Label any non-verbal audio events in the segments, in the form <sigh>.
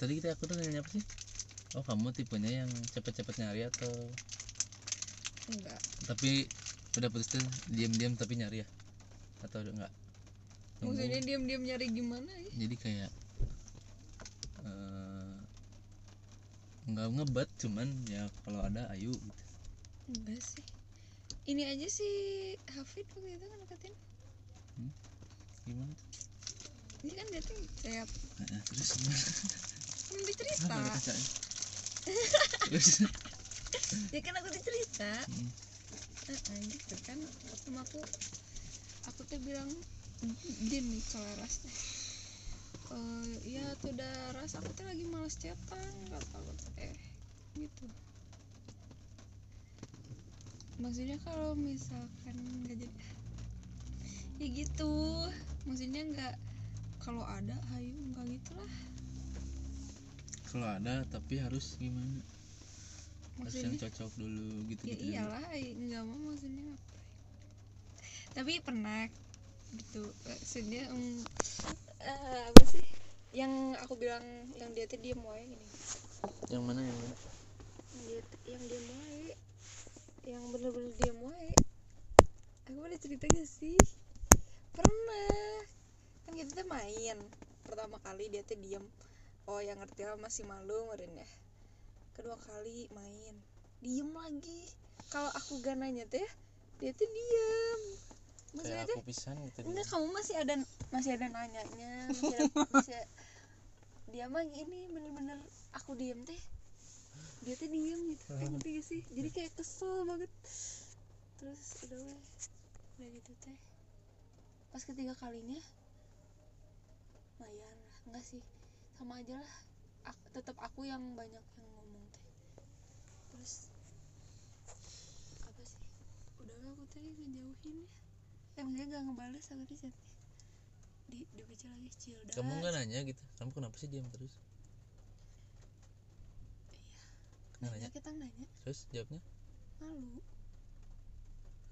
Tadi kita aku tuh nanya apa sih? Oh kamu tipenya yang cepet-cepet nyari atau enggak tapi udah putus tuh diam-diam tapi nyari ya? Atau udah enggak? Nunggu. maksudnya diam-diam nyari gimana ya Jadi kayak eh, nggak ngebet cuman ya kalau ada ayu gitu. enggak sih ini aja sih Hafid waktu itu kan deketin Gimana? tuh? ini kan dating saya Nah, terus gimana? kan udah cerita Kenapa ada kacanya? Terus ya kan aku udah cerita Hmm. Heeh, gitu kan sama aku aku tuh bilang gini kalau ras teh Eh, ya tuh udah ras aku tuh lagi males cetan kata aku teh gitu maksudnya kalau misalkan nggak jadi ya gitu maksudnya nggak kalau ada ayo nggak gitu lah kalau ada tapi harus gimana? Harus yang maksudnya cocok dulu gitu ya gitu. iyalah i- nggak mau maksudnya ngapain tapi pernah gitu maksudnya em, eh, apa sih yang aku bilang yang dia tuh diem wae gini Yang mana yang mana? yang dia tuh- yang diem wae yang bener-bener diem wae aku ada ceritanya sih pernah kan kita tuh main pertama kali dia tuh diem oh yang ngerti lah masih malu meren ya kedua kali main diem lagi kalau aku gananya tuh ya dia tuh diem maksudnya tuh aku pisan gitu. enggak kamu masih ada masih ada nanyanya masih ada, masih ada- dia mah ini bener-bener aku diem teh dia tuh diem gitu eh, ngerti gak sih jadi kayak kesel banget terus udah weh udah gitu teh pas ketiga kalinya lumayan lah enggak sih sama aja lah aku, tetap aku yang banyak yang ngomong teh terus apa sih udah weh aku tadi ngejauhin ya eh maksudnya gak ngebales aku tuh chatnya di dibaca lagi cil dah Kamu nggak nanya gitu? Kamu kenapa sih diam terus? Nggak nanya nanya. kita nanya Terus jawabnya? malu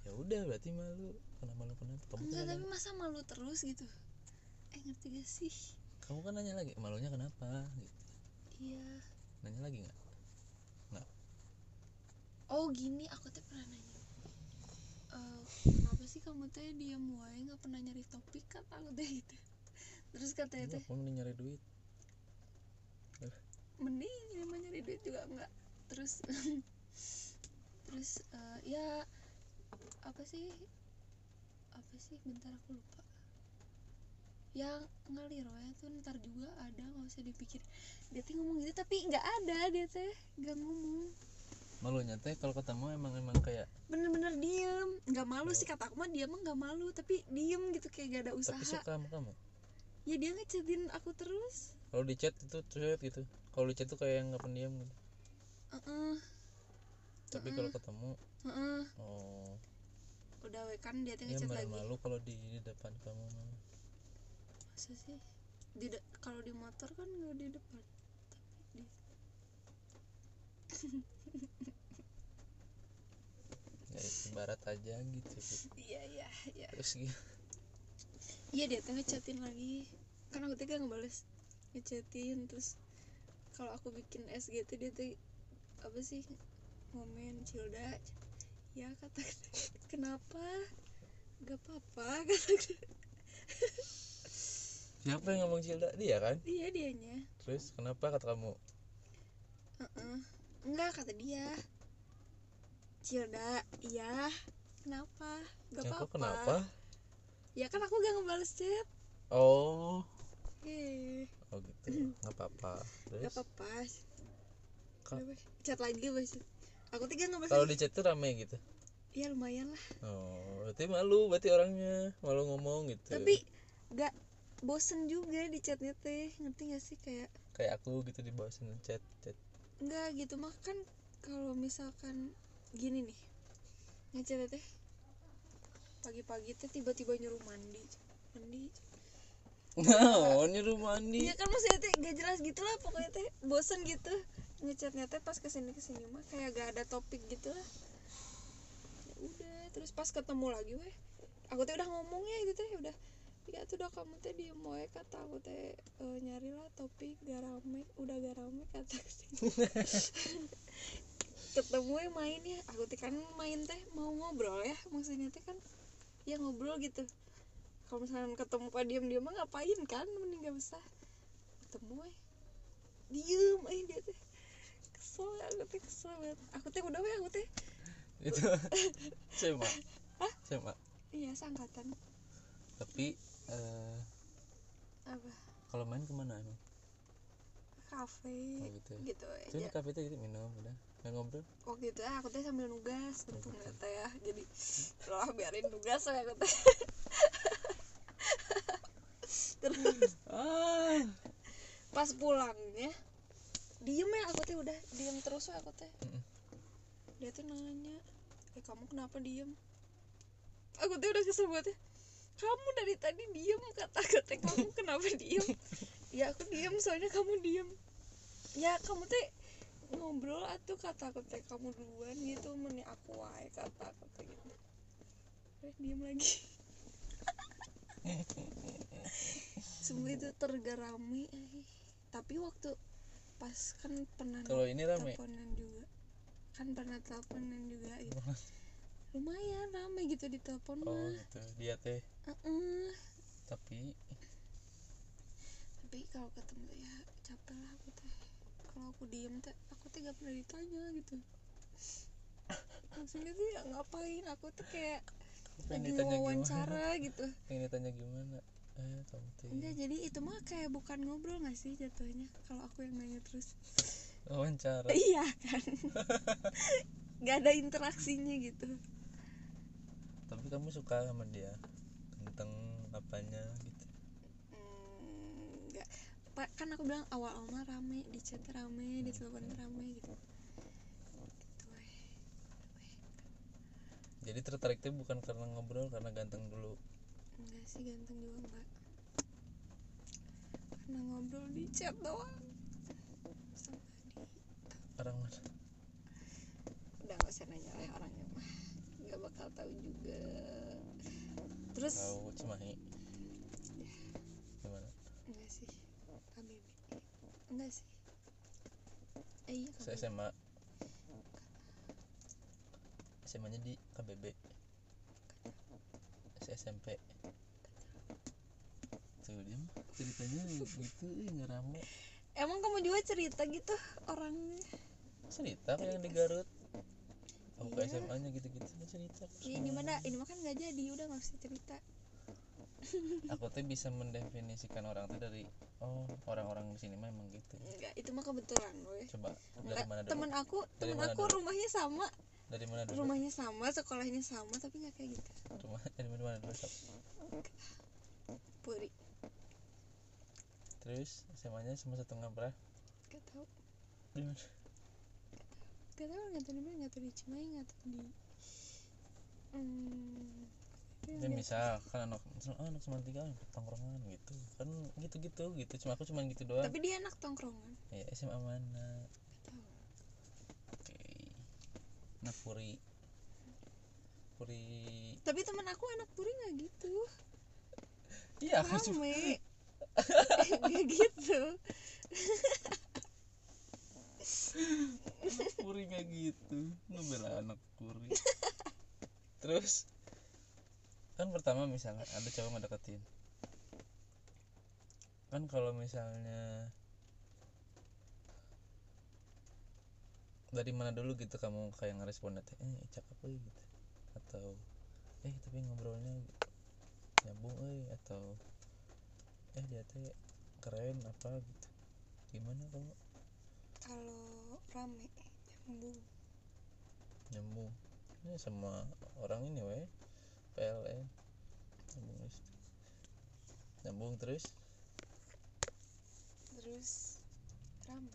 Ya udah berarti malu. Kenapa malu kenapa? Kamu kan enggak tapi nanya, masa malu terus gitu eh ngerti gak sih kamu kan nanya lagi. Malunya kenapa? Gitu. iya Nanya lagi nggak? oh gini aku tuh pernah nanya Eh, kenapa sih kamu teh diam wae nggak pernah nyari topik kan aku teh gitu terus katanya Enggak, teh Kamu mending nyari duit. mending ini mah nyari duit juga enggak terus <laughs> terus eh, ya apa sih apa sih bentar aku lupa yang ngalir ya tuh ntar juga ada nggak usah dipikir dia tuh ngomong gitu tapi nggak ada dia teh nggak ngomong Malunya teh kalau ketemu emang emang kayak bener-bener diem nggak malu sih kata aku mah dia mah nggak malu tapi diem gitu kayak gak ada usaha tapi suka sama kamu. ya dia ngechatin aku terus Kalau di chat itu cuek gitu. Kalau di chat tuh kayak nggak pendiam gitu. Heeh, Tapi kalau ketemu, heeh. oh, udah we kan dia tuh ya ngechat lagi malu kalau di, di depan kamu. mah. Masa sih? Di de- kalau di motor kan nggak di depan. Tapi di Ya ibarat aja gitu. Iya, iya, iya. <laughs> Terus gitu. Iya, dia tuh ngechatin lagi. Kan aku tiga ngebales ngechatin terus kalau aku bikin SGT dia tuh apa sih? Momen Cilda. Ya kata <laughs> kenapa? Gak apa-apa <laughs> kata Siapa yang ngomong Cilda? Dia kan? dia Iya, dianya. Terus kenapa kata kamu? Heeh. Mm, Enggak kata dia. Cilda, iya. Kenapa? Ya, Gak apa-apa. kok kenapa? Ya kan aku gak ngebales chat. Oh, Heeh. oh gitu. Nggak apa-apa. Gak Terus apa-apa Kak. Udah, Boy. Chat lagi Boy Aku tiga gak kalau masalah di chat tuh rame gitu. Ya lumayan lah Oh, berarti malu berarti orangnya malu ngomong gitu. Tapi gak bosen juga di chatnya teh Ngerti gak sih kayak kayak aku gitu di bawah sana chat chat. Enggak gitu mah kan Kalau misalkan gini nih Ngechat teh Pagi-pagi teh tiba-tiba nyuruh mandi Mandi <laughs> Nah, nyuruh mandi. Iya kan maksudnya teh gak jelas gitu lah Pokoknya teh bosen gitu Ngechatnya teh pas kesini-kesini mah Kayak gak ada topik gitu lah Ya udah terus pas ketemu lagi weh aku teh udah ngomongnya itu teh udah ya tuh udah kamu teh diem wae kata aku teh eh, nyari lah topik garame udah garame kata aku teh. ketemu we main ya aku teh kan main teh mau ngobrol ya maksudnya teh kan ya ngobrol gitu kalau misalnya ketemu pak diem diem mah ngapain kan mending gak usah ketemu eh diem eh dia teh kesel aku teh kesel banget aku teh udah weh aku teh <laughs> itu SMA SMA iya sangkatan tapi eh, apa kalau main kemana emang kafe Oh, gitu ya. gitu Cuma aja di kafe itu gitu minum udah nggak ngobrol waktu itu ya, aku teh sambil nugas untung gak teh ya jadi lah biarin nugas saya aku teh <laughs> terus ah pas pulangnya diem ya aku teh udah diem terus ya aku teh Mm-mm. dia tuh nanya eh kamu kenapa diem aku tuh udah kesel banget ya kamu dari tadi diem kata aku teh kamu <laughs> kenapa diem ya aku diem soalnya kamu diem ya kamu teh ngobrol atuh kata aku teh kamu duluan gitu meni aku wae kata aku teh gitu eh diem lagi semua itu tergerami eh. tapi waktu pas kan pernah kalau ini rame teleponan juga kan pernah teleponan juga gitu lumayan rame gitu di telepon oh mah Uh-uh. gitu dia teh Heeh. tapi tapi kalau ketemu tuh ya capek lah aku teh kalau aku diem teh aku teh gak pernah ditanya gitu maksudnya tuh ya ngapain aku tuh kayak pengen lagi ditanya gimana Iya. wawancara <laughs> gitu pengen ditanya gimana eh kamu teh enggak jadi itu mah kayak bukan ngobrol gak sih jatuhnya kalau aku yang nanya terus wawancara <laughs> iya kan gak ada interaksinya gitu tapi kamu suka sama dia tentang apanya gitu Mm, enggak Pa- kan aku bilang awal awal mah rame di chat rame di telepon rame gitu gitu weh. jadi tertarik tuh bukan karena ngobrol karena ganteng dulu enggak sih ganteng juga enggak karena ngobrol di chat doang sama di orang mana udah gak usah nanya lah orangnya mah nggak bakal tahu juga terus tahu cimahi gimana enggak sih KBB enggak sih eh, iya saya KBB. SMA SMA nya di KBB saya SMP tuh dia mah ceritanya gitu ih, nggak rame emang kamu juga cerita gitu orangnya cerita kayak yang di Garut aku ke SMA nya gitu gitu cerita Iya ini mana ini mah kan nggak jadi udah nggak usah cerita aku tuh bisa mendefinisikan orang tuh dari oh orang-orang di sini mah emang gitu enggak itu mah kebetulan gue coba dari Enggak, mana dulu temen aku Dari temen mana aku dulu? rumahnya sama dari mana dulu rumahnya sama sekolahnya sama tapi nggak kayak gitu rumah <laughs> dari mana dulu Sob? puri terus SMA nya semua satu berapa nggak tahu di Iya, mana nggak tahu nggak tahu di mana nggak tahu di Cimahi nggak tahu di hmm, ya misal kan anak oh, anak cuma tiga anak tongkrongan gitu kan gitu gitu gitu cuma aku cuma gitu doang tapi dia anak tongkrongan ya SMA mana nggak tahu oke nah Puri Puri tapi temen aku anak puri nggak <laughs> gitu iya aku cuma rame <laughs> nggak gitu anak Puri kayak gitu ngebela anak Puri terus kan pertama misalnya ada cowok ngedeketin kan kalau misalnya dari mana dulu gitu kamu kayak ngeresponnya teh eh cakep euy gitu atau eh tapi ngobrolnya nyambung euy atau eh dia teh keren apa gitu gimana kamu kalau rame nyambung nyambung ini sama orang ini weh PLN nyambung terus nyambung terus terus rame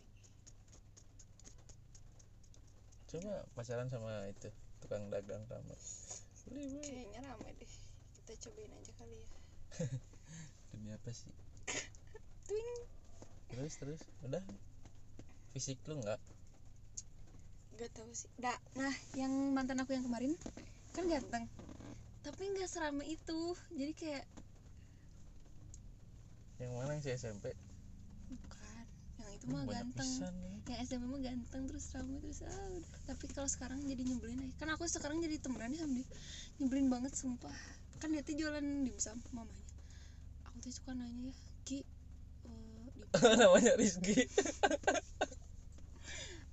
coba pacaran sama itu tukang dagang kamu Beli, Weh. kayaknya rame deh kita cobain aja kali ya demi apa sih <laughs> Twing. terus terus udah fisik lu nggak gak tahu sih da, nah yang mantan aku yang kemarin kan ganteng tapi nggak serame itu jadi kayak yang mana yang si SMP bukan yang itu Hmm, mah banyak ganteng pisan nih yang SMP mah ganteng terus ramai terus ah udah. tapi kalau sekarang jadi nyebelin aja kan aku sekarang jadi temenan sama dia nyebelin banget sumpah kan dia tuh jualan dimsum mamanya aku tuh suka nanya ya ki eh, dimsum <laughs> namanya Rizky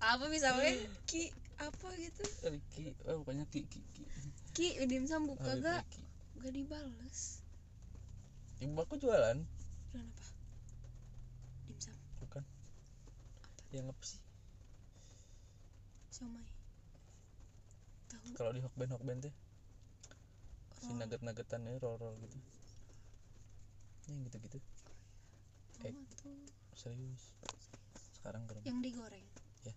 apa bisa we ki apa gitu Riki oh bukannya Ki Ki Ki ki dimsum buka Habib gak Riki. gak dibales ibu aku jualan jualan apa dimsum bukan yang apa sih siomay tahu kalau di Hokben Hokben teh si roll. nugget nuggetannya roll roll gitu yang gitu gitu Tahu nggak tuh serius sekarang ke rumah yang digoreng Ya.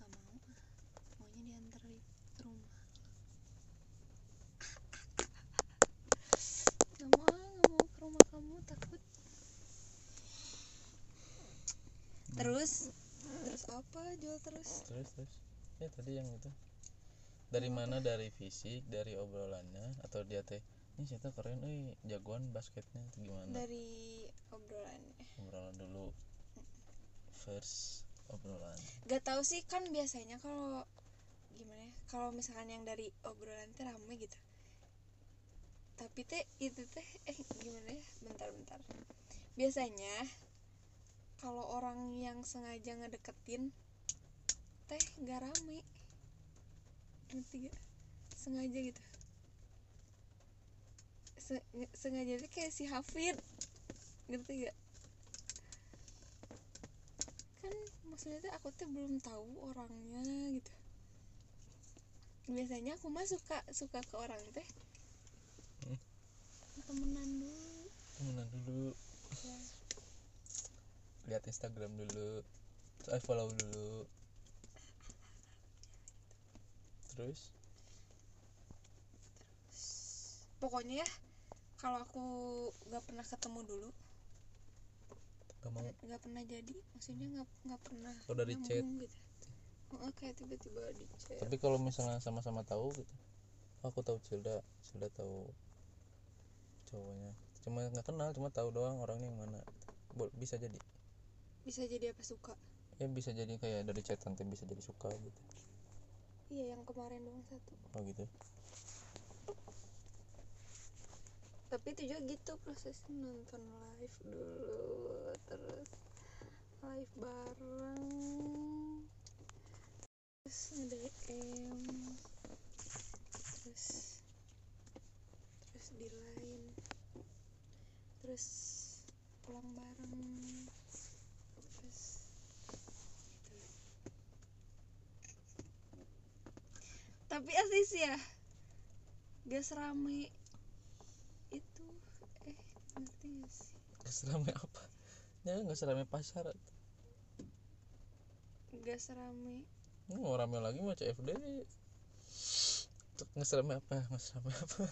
nggak mau ah. maunya dianterin ke rumah nggak mau ah, nggak mau ke rumah kamu takut Hmm. terus terus apa jual terus terus terus ya tadi yang itu dari mana dari fisik dari obrolannya atau dia teh ini siapa keren eh jagoan basketnya atau gimana dari obrolannya obrolan dulu first obrolan gak tahu sih kan biasanya kalau gimana ya kalau misalkan yang dari obrolan teh rame gitu tapi teh itu teh eh gimana ya bentar-bentar biasanya kalau orang yang sengaja ngedeketin teh gak rame ngerti gak? sengaja gitu Se- nge- sengaja tuh kayak si Hafid ngerti gak kan maksudnya tuh aku tuh belum tahu orangnya gitu biasanya aku mah suka suka ke orang teh Hmm. temenan dulu temenan dulu ya. lihat Instagram dulu terus I follow dulu terus pokoknya ya kalau aku nggak pernah ketemu dulu gak mau nggak pernah jadi maksudnya nggak nggak pernah Kalau dari nyambung Oh, chat. Hmm. gitu Heeh, kayak tiba-tiba di chat tapi kalau misalnya sama-sama tahu gitu "Oh, aku tahu Cilda Cilda tahu cowoknya cuma nggak kenal cuma tahu doang orangnya yang mana gitu. Bo- bisa jadi bisa jadi apa suka ya bisa jadi kayak dari chat nanti bisa jadi suka gitu iya yang kemarin doang satu oh gitu tapi itu juga gitu prosesnya nonton live dulu terus live bareng terus nge-DM terus terus di line terus pulang bareng terus gitu. tapi asis ya gak serame itu eh ngerti gak sih seramai apa ya nggak seramai pasar gak serame ini Hmm, mau rame lagi mau CFD Cek, nggak seramai apa nggak seramai apa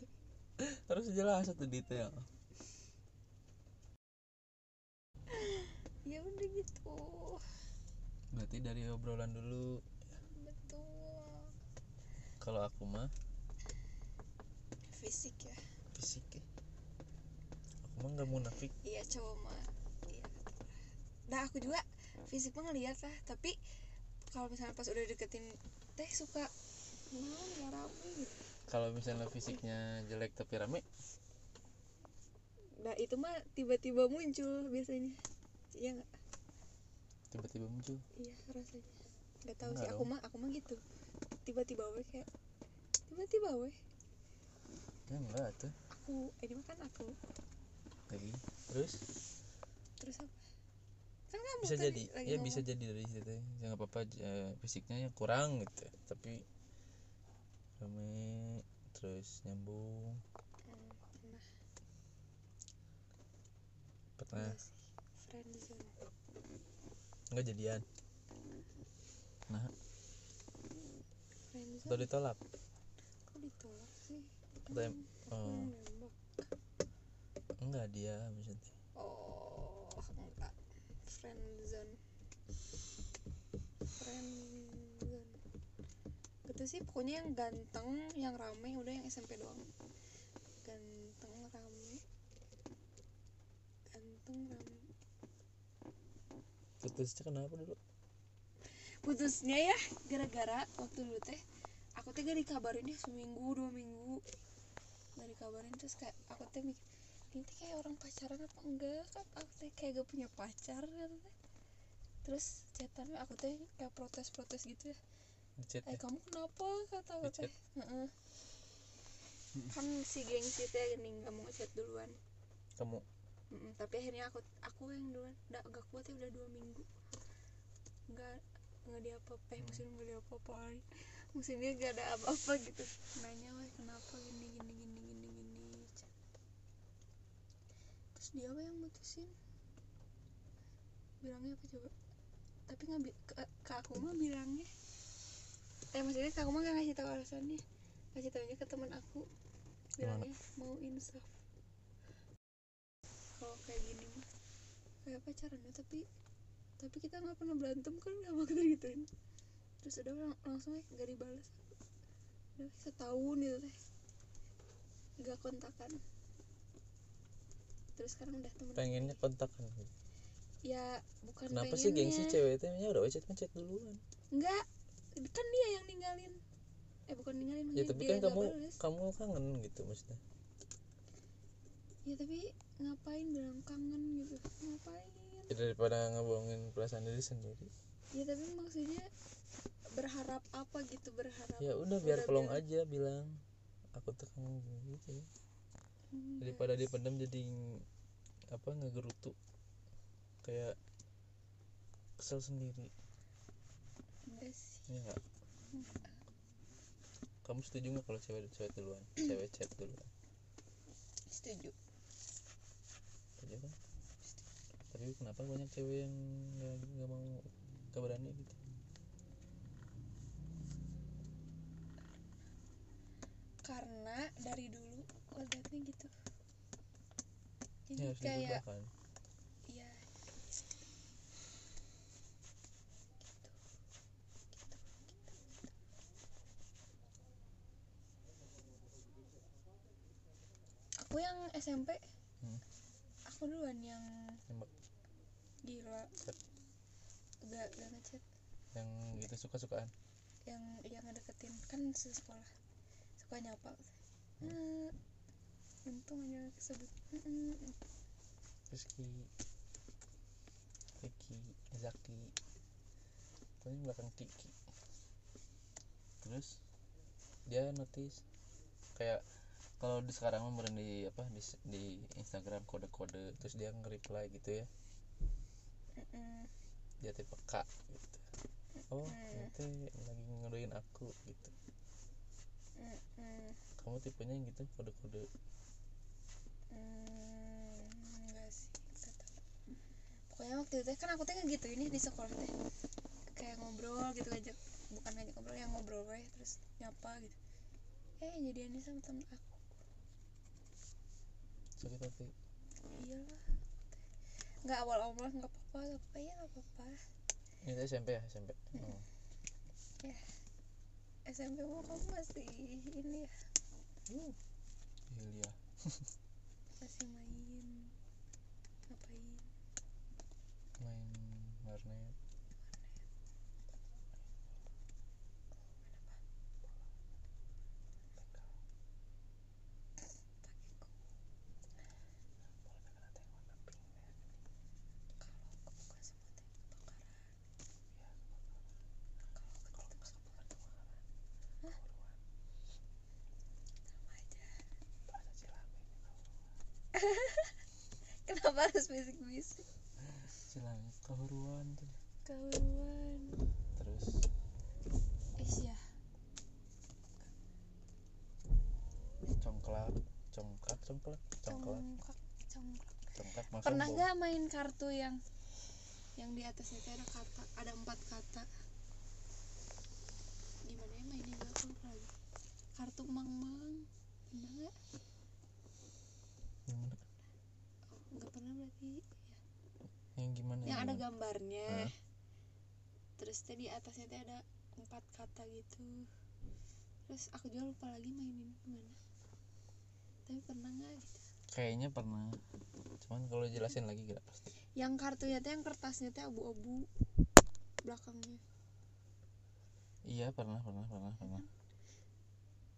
<laughs> harus jelas satu detail ya udah gitu berarti dari obrolan dulu betul kalau aku mah fisik ya fisik ya. aku mah nggak munafik iya cowok mah iya nah aku juga fisik mah ngeliat lah tapi kalau misalnya pas udah deketin teh suka nah nggak rame gitu kalau misalnya fisiknya jelek tapi rame nah itu mah tiba-tiba muncul biasanya iya nggak tiba-tiba muncul iya rasanya nggak tahu sih Nggak aku dong. mah aku mah gitu tiba-tiba we kayak tiba-tiba we ya enggak tuh aku ini mah kan aku lagi terus terus apa kan kamu bisa tadi jadi lagi ya ngomong. bisa jadi dari situ teh. ya nggak apa-apa eh, fisiknya yang kurang gitu tapi rame terus nyambung Hmm, pernah pernah nggak Ah, iya sih friendzone Iya. nggak jadian nah udah friendzone ditolak kok ditolak sih kan Tem- Emang aku oh. yang nembak? enggak dia maksudnya oh enggak friendzone friendzone itu sih pokoknya yang ganteng yang rame udah yang SMP doang ganteng rame ganteng rame putusnya kenapa dulu putusnya ya gara-gara waktu dulu teh aku teh gak dikabarin ya seminggu dua minggu gak dikabarin terus kayak aku teh mikir ini teh kayak orang pacaran apa enggak kan aku teh kayak gak punya pacar kan teh. terus chatan aku teh kayak protes-protes gitu ya Dicet ya? eh kamu kenapa kata aku Di chat. teh Heeh. kan si gengsi teh gini nggak mau chat duluan kamu Mm-mm, tapi akhirnya aku aku yang duluan nggak gak kuat ya udah dua minggu nggak nggak dia apa eh Hmm. musim nggak dia apa apaan musimnya gak ada apa apa gitu nanya wah kenapa gini gini gini gini gini terus dia weh yang mutusin bilangnya apa coba tapi nggak bi- ke, ke aku mah bilangnya eh maksudnya ke aku mah gak ngasih tahu alasannya ngasih tahunya ke teman aku bilangnya mau insaf kalau kayak gini mah kayak pacaran ya tapi tapi kita nggak pernah berantem kan nggak bakal gituin terus udah lang- langsung aja gak dibalas udah setahun itu teh gak kontakan terus sekarang udah temen pengennya kontakan ya bukan kenapa pengennya. sih gengsi cewek itu nya udah ngechat ngechat duluan enggak kan dia yang ninggalin eh bukan ninggalin ya maksudnya tapi dia kan yang kamu gak bales. kamu kangen gitu maksudnya ya tapi ngapain bilang kangen gitu ngapain ya, daripada ngebohongin perasaan diri sendiri ya tapi maksudnya berharap apa gitu berharap ya udah biar Udah pelong bilang. aja bilang aku tuh kangen gitu ya. Hmm, Enggak. daripada dipendam jadi ng- apa ngegerutu kayak kesel sendiri enggak sih ya nggak kamu setuju nggak kalau cewek cewek duluan cewek chat duluan setuju setuju kan tapi kenapa banyak cewek yang nggak nggak mau nggak berani gitu karena dari dulu kodratnya gitu ya jadi harus kayak diubah kan ya Gitu, aku yang SMP Hmm. aku duluan yang Nembak. gila Chat. gak gak ngechat yang gitu suka sukaan yang yang ngedeketin kan sekolah suka nyapa Eh, untung aja gak kesebut Mm, mm, Rizky Ricky Zaki pokoknya belakang Kiki terus dia notice kayak kalau di sekarang mah meren di apa di, s- di Instagram kode-kode terus dia nge-reply gitu ya mm, mm. dia tipe peka gitu oh Hmm. nanti lagi ngedoin aku gitu Mm, mm, kamu tipenya yang gitu kode-kode mm, enggak sih nggak tahu. pokoknya waktu itu kan aku teh gitu ini di sekolah teh kayak ngobrol gitu aja bukan ngajak ngobrol yang ngobrol weh terus nyapa gitu eh jadiannya sama temen aku sakit hati iyalah nggak awal awal nggak apa apa apa ya nggak apa apa ini tuh SMP ya SMP oh. SMP mau kamu masih ini ya Hmm. Hilya masih main ngapain main warnet <laughs> Kenapa harus bisik-bisik? Silangit kehuruan tuh Kawan. terus Is ya. congklak congklak congklak congklak Congkak, congkak. congklak masuk Pernah bom. gak main kartu yang yang di atasnya itu ada kata, ada empat kata. Gimana ya mainnya gak aku lupa lagi. Kartu mang-mang. Pernah gak? Gimana? Oh, gak pernah berarti. yang gimana yang ada gimana? gambarnya. Hah? Terus tadi atasnya tadi ada empat kata gitu. terus aku juga lupa lagi mainin mana tapi pernah nggak gitu kayaknya pernah cuman kalau jelasin lagi gak pasti yang kartunya tuh yang kertasnya tuh abu-abu belakangnya iya pernah pernah pernah pernah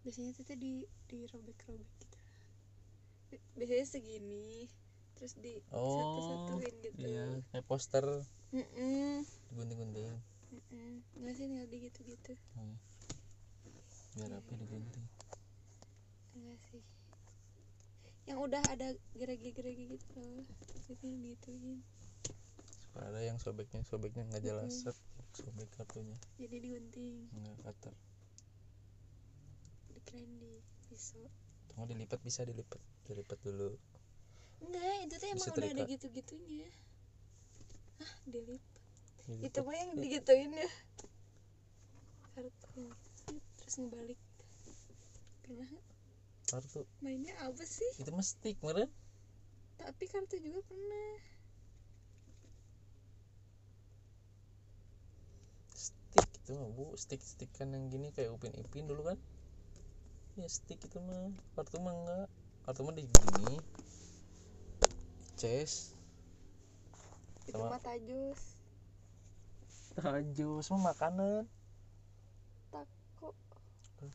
biasanya tuh tuh di dirobek-robek gitu Bi- biasanya segini terus di Oh, satu-satuin gitu iya kayak poster Mm-mm, digunting-gunting mm-mm. nggak sih nggak di gitu-gitu Oh, iya. biar apa digunting enggak sih yang udah ada geregi-geregi gitu loh itu yang digituin suka ada yang sobeknya sobeknya nggak jelas Mm-mm. set, sobek kartunya jadi digunting nggak cutter dikeren di pisau cuma dilipat bisa dilipat dilipat dulu enggak itu tuh emang Bisa udah ada terikat. gitu-gitunya ah dilip itu Dilipat. mah yang digituin ya kartu terus ngebalik pernah nggak? kartu mainnya apa sih itu mah stick meren tapi kartu juga pernah stick itu mah bu stick stick kan yang gini kayak upin ipin dulu kan ya stick itu mah kartu mah enggak kartu mah di gini chess itu Sama- mah tajus tajus mah makanan tako Tuh,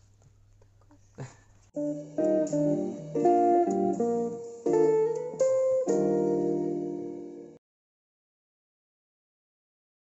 takos